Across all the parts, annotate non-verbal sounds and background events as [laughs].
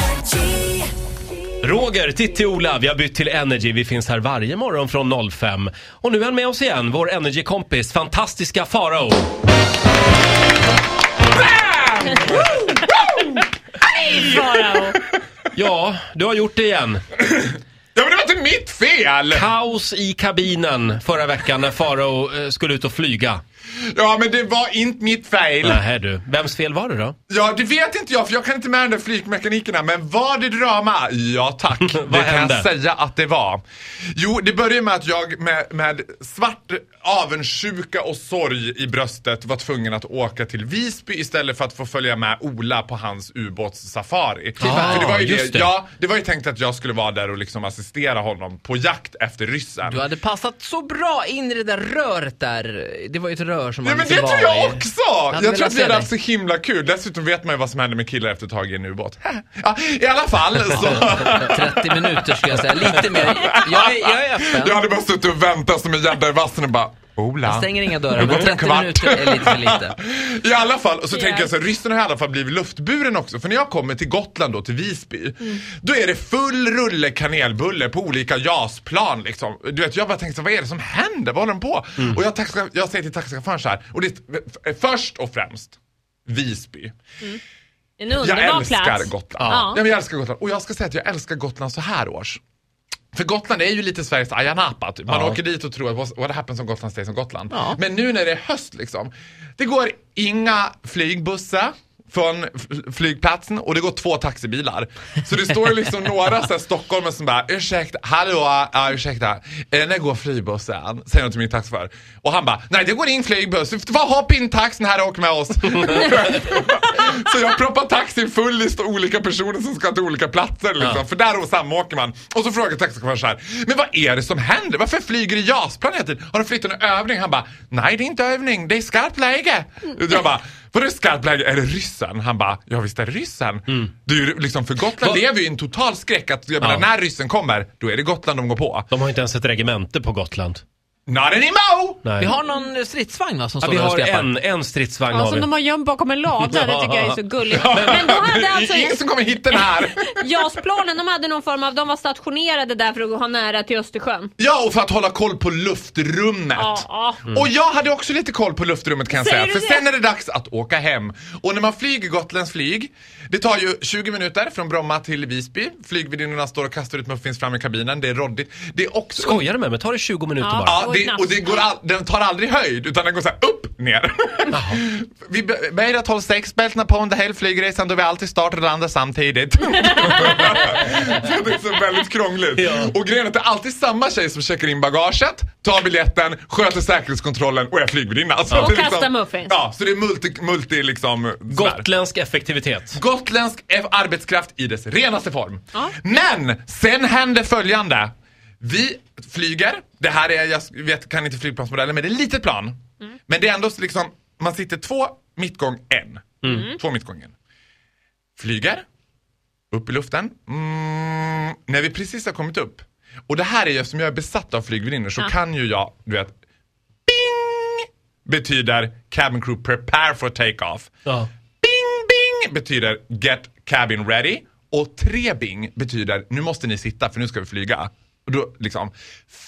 Energy. Roger, Titti, Ola, vi har bytt till Energy. Vi finns här varje morgon från 05. Och nu är han med oss igen, vår Energy-kompis, fantastiska Farao. Farao. Ja, du har gjort det igen. Ja men det var inte mitt fel! Kaos i kabinen förra veckan när Farao eh, skulle ut och flyga. Ja men det var inte mitt fel. Nähä du, vems fel var det då? Ja det vet inte jag för jag kan inte med de där flygmekanikerna men var det drama? Ja [laughs] tack. det kan hände? jag säga att det var. Jo det började med att jag med, med svart avundsjuka och sorg i bröstet var tvungen att åka till Visby istället för att få följa med Ola på hans ubåtssafari. Ah, för det var ju just det. Ja, det var ju tänkt att jag skulle vara där och liksom assistera honom på jakt efter ryssen. Du hade passat så bra in i det där röret där. Det var ju ett rör som Ja man men det inte tror var jag [laughs] i. också! hade Jag velat tror att vi se hade dig. haft så himla kul. Dessutom vet man ju vad som händer med killar efter ett tag i en ubåt. [laughs] Ja, I alla fall så... [laughs] 30 minuter skulle jag säga, lite mer. Jag är, jag är Jag öppen. hade bara suttit och väntat som en gädda i vassen och bara Ola. Jag stänger inga Det dörrar, har men gått en 30 kvart. minuter är lite för lite. [laughs] I alla fall, så Ja. tänker jag så här, ryssen har i alla fall blivit luftburen också. För när jag kommer till Gotland då, till Visby, Mm. då är det full rulle kanelbulle på olika JAS-plan liksom. Du vet, jag bara tänkte så här, vad är det som händer? Vad håller de på? Mm. Och jag, taxa, jag säger till taxichauffören så här, och det är först och främst Visby. En jag underbar älskar plats. Gotland. Ja. Ja. men jag älskar Gotland. Och jag ska säga att jag älskar Gotland så här års. För Gotland är ju lite Sveriges Ayia Napa. Typ. Man Ja. åker dit och tror att what- what happens om Gotland stays on Gotland. Ja. Men nu när det är höst liksom. Det går inga flygbussar från f- flygplatsen och det går två taxibilar. Så det står ju liksom några så här stockholmare som bara ursäkta, hallå, ja, ursäkta, eh, när går flygbussen? Säger de till min taxichaufför. Och han bara, nej det går ingen flygbuss, Du får bara hoppa in i taxin här och åk med oss. Så jag proppar taxin full i st- olika personer som ska till olika platser liksom. Ja. För där och samåker man. Och så frågar taxichauffören så här. Men vad är det som händer? Varför flyger det JAS-plan hela tiden? Har de flyttat en övning? Han bara, nej det är inte övning, det är skarpt läge. Jag bara, vadå är skarpt läge? Är det ryssen? Han bara, ja visst är det ryssen. Det är ju liksom, för Gotland Vad- lever ju i en total skräck att jag menar, Mm. Ja. när ryssen kommer, då är det Gotland de går på. De har inte ens ett regemente på Gotland. Not anymore! Nej. Vi har någon stridsvagn va, som ja, står vi där och har skräpar? en, en stridsvagn Ja, har vi. som de har gömt bakom en lada, det tycker jag är så gulligt. Men då Det hade är alltså ingen som kommer hit den här. JAS-planen, de hade någon form av, de var stationerade där för att ha nära till Östersjön. Ja, och för att hålla koll på luftrummet. Ja, ja. Och jag hade också lite koll på luftrummet kan jag Mm. säga. För Säger du det? sen är det dags att åka hem. Och när man flyger Gotlands flyg, det tar ju 20 minuter från Bromma till Visby. Flygvärdinnorna står och kastar ut muffins fram i kabinen, det är roddigt. Det är också... Skojar du med mig? Ta det 20 minuter Ja. bara. Ja, Oj, det, och det napp. går all, den tar aldrig höjd, utan den går så här upp, ner. [laughs] vi be- börjar 12.06, bältena på under hela flygresan då vi alltid startar och landar samtidigt. [laughs] så det är så väldigt krångligt. Ja. Och grejen är att det är alltid samma tjej som checkar in bagaget, tar biljetten, sköter säkerhetskontrollen och är flygvärdinna. Så Och det är liksom- kastar muffins. Ja, så det är multi, multi liksom... sådär. Gotländsk effektivitet. Gotländsk F- arbetskraft i dess renaste form. Ja. Men sen händer följande. Vi flyger. Det här är, jag vet, kan inte flygplansmodellen, men det är ett litet plan. Men det är ändå så liksom, man sitter två mittgång en. Mm. Två mittgång en. Flyger. Upp i luften. Mm, när vi precis har kommit upp. Och det här är ju, eftersom jag är besatt av flygvärdinnor så kan ju jag, du vet, bing! Betyder cabin crew prepare for take-off. Ja. Bing, bing betyder get cabin ready. Och tre bing betyder nu måste ni sitta för nu ska vi flyga. Och då, liksom,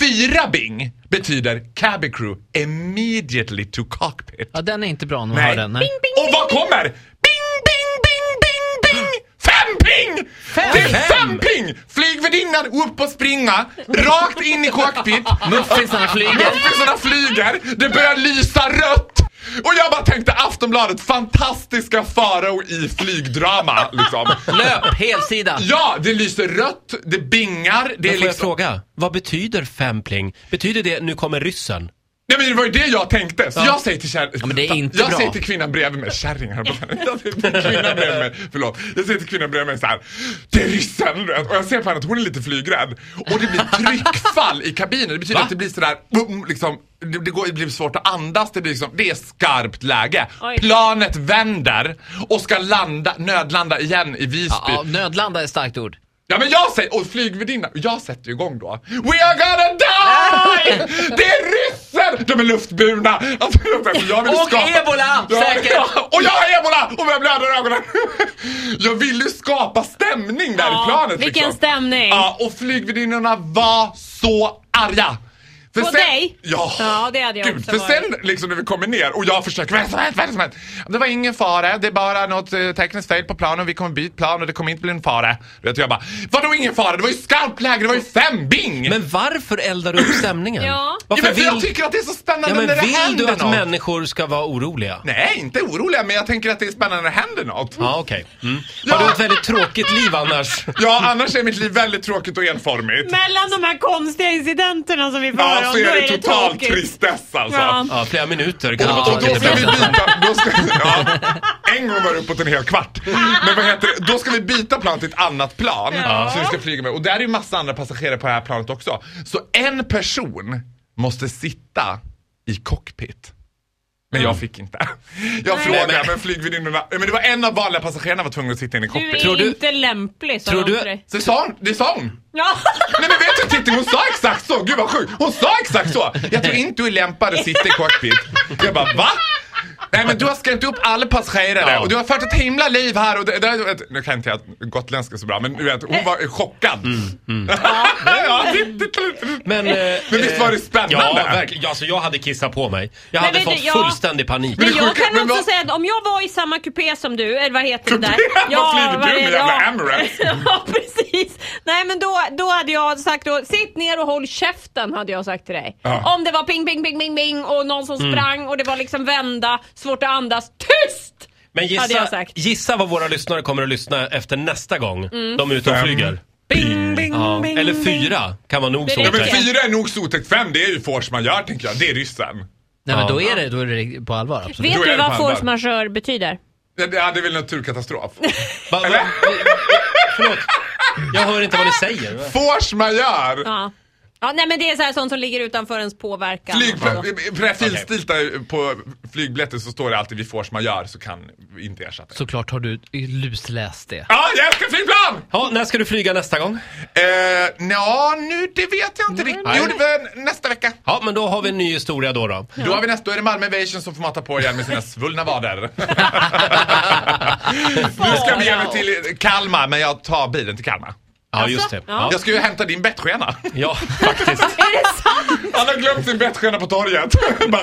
fyra bing betyder cabin crew immediately to cockpit. Ja, den är inte bra när man hör den. Nej. Och vad kommer? Bing, bing, bing, bing, bing! Fem ping! Det är fem ping! Flygvärdinnan upp och springa, rakt in i cockpit. Muffinsarna flyger. Muffinsarna flyger, det börjar lysa rött! Och jag bara tänkte Aftonbladet, fantastiska farao i flygdrama liksom. Löp, helsida. Ja, det lyser rött, det bingar, Men det är får jag liksom... fråga, vad betyder fempling? Betyder det nu kommer ryssen? Nej men det var ju det jag tänkte. Så jag säger till kär... men det är inte Jag bra. säger till kvinnan bredvid mig, kärringar på Jag säger till kvinnan bredvid mig, förlåt. Jag säger till kvinnan bredvid mig så här. Det är ryssen! du vet. Och jag ser på henne att hon är lite flygrädd. Och det blir tryckfall i kabinen. Det betyder Va? att det blir sådär, boom, liksom. Det, det, går, det blir svårt att andas, det blir liksom, det är skarpt läge. Oj. Planet vänder och ska landa, nödlanda igen i Visby. Ja, nödlanda är ett starkt ord. Ja men jag säger, och flygvärdinnan, jag sätter ju igång då. We are gonna die! Det är ryssen! De är luftburna! Alltså, jag vill Och skapa... ebola, Ja, säkert. ja, och jag har ebola! Och jag blöder i ögonen. Jag ville skapa stämning stämning där i planet vilken liksom. stämning. Ja, och flygvärdinnorna var så arga. För På dig? Ja. Ja, det hade jag Gud, också för varit. sen liksom när vi kommer ner och jag försöker, vad är det som hänt, vad är det som hänt? Det var ingen fara, det är bara något eh, tekniskt fel på planen, vi kommer byta plan och det kommer inte bli en fara. Du vet, jag bara, vadå ingen fara? Det var ju skarpt läge, det var ju fem bing! Men varför eldar du upp stämningen? Ja. ja, Varför men för jag vill, tycker att det är så spännande ja, men när det vill händer du att något. människor ska vara oroliga? Nej, inte oroliga, men jag tänker att det är spännande när det händer något. Ja, okej. Mm. Ja. Har du ett väldigt tråkigt liv annars? Ja, annars är mitt liv väldigt tråkigt och enformigt. Mellan de här konstiga incidenterna som vi får höra Ja, om, så då är det det total tråkigt. tristess alltså. Ja. Ja, flera minuter kan det Och vara då ska tråkigt vi ibland. byta, då ska, ja, en gång var det uppåt en hel kvart. Men vad heter det, då ska vi byta plan till ett annat plan Ja. som vi ska flyga med. Och där är ju massa andra passagerare på det här planet också. Så en person måste sitta i cockpit. Men jag fick inte. Jag Nej. frågade Nej, men flygvärdinnorna, men det var en av vanliga passagerarna var tvungen att sitta inne i Du är cockpit. Tror du- inte lämplig, sa Tror de du- till dig. Så sa hon, det sa hon. Ja. Nej men vet du Titti, hon sa exakt så! Gud vad sjukt! Hon sa exakt så! Jag tror inte du är lämpad att sitta i cockpit. Jag bara va? Nej men du har skrämt upp alla passagerare Ja. och du har fört ett himla liv här och det, det, det, Nu kan inte jag gotländska så bra men du vet, hon var chockad. [laughs] ja, titta, titta, titta. Men, eh, Men visst var det spännande? Ja, verkligen. Ja, Alltså, jag hade kissat på mig. Jag Men hade vet du, fått jag- fullständig panik. Men Men det jag sjuka- kan men också vad- säga att om jag var i samma kupé som du, eller vad [laughs] heter det där? Vad flyger du med ja. jävla Emirates? [laughs] ja, precis. Nej, men då, då hade jag sagt då, sitt ner och håll käften, hade jag sagt till dig. Ja. Mm. Om det var ping, ping, ping, ping, ping och någon som sprang och det var liksom vända, svårt att andas. Tyst! Men hade jag gissa, sagt. Mm. gissa vad våra lyssnare kommer att lyssna efter nästa gång de är ute och Fem. flyger. Bing, bing, Ja. bing, Eller bing. fyra kan vara nog så Det Ja, men räcker. otäckt. fyra är nog så otäckt, fem det är ju force majeure tänker jag, det är ryssen. Nej Ja. men då är det, då är det på allvar absolut. Då Vet är du det vad på allvar. force majeure betyder? Ja, Det det är väl naturkatastrof. Va, va, Eller? förlåt. Jag hör inte vad ni säger. Force majeure! Ja. ja. Nej, men det är så här, sånt som ligger utanför ens påverkan. Flyg, Ja. på det här finstilta på flygbiljetter så står det alltid vid force majeure så kan vi inte ersätta. Såklart har du lusläst det. Ja, jag älskar flygplan! Ja, när ska du flyga nästa gång? Eh, ja, nu det vet jag inte riktigt. nej. Jo, det var nästa vecka. Ja, men då har vi en ny historia då. då. Då har vi nästa, då är det Malmö Evasion som får mata på igen med sina svullna [laughs] vader. nu ska vi ge mig till Kalmar, men jag tar bilen till Kalmar. Ja, just det. Ja, Jag ska ju hämta din bettskena. ja faktiskt. Är det sant? [laughs] Han har glömt sin bettskena på torget. [laughs] Bara,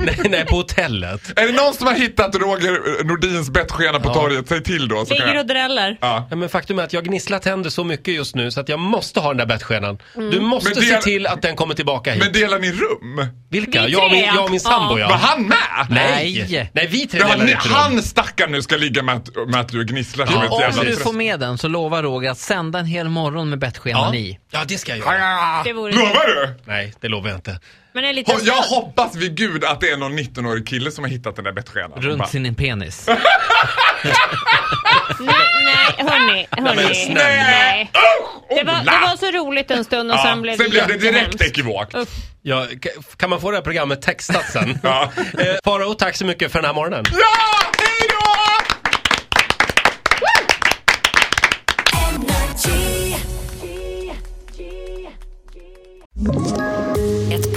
Nej, nej, på hotellet. är det någon som har hittat Roger Nordins bettskena på torget, säg till då. Så kan Ligger jag... och dräller. ja. Ja, men faktum är att jag gnisslar tänder så mycket just nu så att jag måste ha den där bettskenan. Du måste Men det- se till att den kommer tillbaka hit. Men delar ni rum? Vilka? Vi Jag och min, tre, jag och min ja. sambo Var ja. han med? Nej! Nej. Nej, vi tre Ja, delar ni, inte rum. han stackaren nu ska ligga med att, med att du gnisslar som ett jävla Om du tröst. får med den så lovar Roger att sända en hel morgon med bettskenan Ja. i. ja, det ska jag Ja, göra. ja, Det ja. vore Ah. Lovar du? Nej, det lovar jag inte. Men en liten Ho- Jag hoppas vid gud att det är någon 19-årig kille som har hittat den där bettskenan. Bara, Runt sin penis. Nej, nej, hörni. hörni. men snälla. Nej. Usch! Det var, Ola! det var så roligt en stund och Ja, sen blev det jättehemskt. direkt ekivokt. Uff. Ja, k- kan man få det här programmet textat sen? Ja. eh, Farao, tack så mycket för den här morgonen. Ja, hej då! Ett